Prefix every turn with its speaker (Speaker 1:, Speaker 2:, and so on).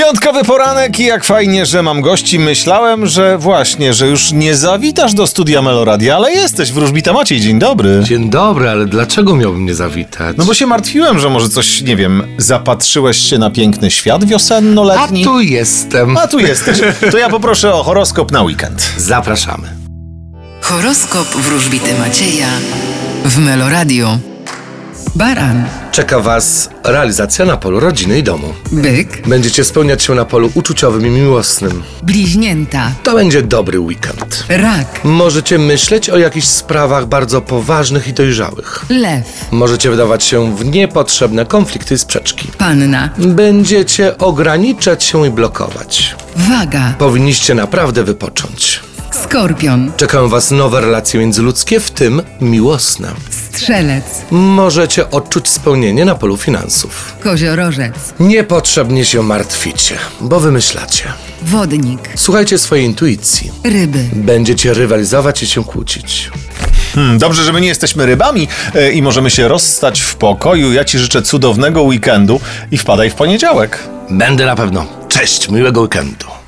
Speaker 1: Piątkowy poranek i jak fajnie, że mam gości. Myślałem, że właśnie, że już nie zawitasz do studia Meloradia, ale jesteś wróżbita Maciej. Dzień dobry.
Speaker 2: Dzień dobry, ale dlaczego miałbym nie zawitać?
Speaker 1: No bo się martwiłem, że może coś, nie wiem, zapatrzyłeś się na piękny świat
Speaker 2: A
Speaker 1: wiosenno-letni.
Speaker 2: tu jestem.
Speaker 1: A tu jesteś. To ja poproszę o horoskop na weekend.
Speaker 2: Zapraszamy.
Speaker 3: Horoskop wróżbity Macieja w Meloradio. Baran,
Speaker 2: Czeka Was realizacja na polu rodziny i domu.
Speaker 3: byk,
Speaker 2: Będziecie spełniać się na polu uczuciowym i miłosnym.
Speaker 3: bliźnięta,
Speaker 2: To będzie dobry weekend.
Speaker 3: rak,
Speaker 2: Możecie myśleć o jakichś sprawach bardzo poważnych i dojrzałych.
Speaker 3: lew,
Speaker 2: Możecie wdawać się w niepotrzebne konflikty i sprzeczki.
Speaker 3: panna,
Speaker 2: Będziecie ograniczać się i blokować.
Speaker 3: waga,
Speaker 2: Powinniście naprawdę wypocząć.
Speaker 3: skorpion,
Speaker 2: Czekają Was nowe relacje międzyludzkie, w tym miłosne.
Speaker 3: strzelec,
Speaker 2: możecie odczuć spełnienie na polu finansów.
Speaker 3: koziorożec,
Speaker 2: Niepotrzebnie się martwicie, bo wymyślacie.
Speaker 3: wodnik,
Speaker 2: Słuchajcie swojej intuicji.
Speaker 3: ryby.
Speaker 2: Będziecie rywalizować i się kłócić.
Speaker 1: Hmm, dobrze, że my nie jesteśmy rybami e, i możemy się rozstać w pokoju. Ja ci życzę cudownego weekendu i wpadaj w poniedziałek.
Speaker 2: Będę na pewno. Cześć, miłego weekendu.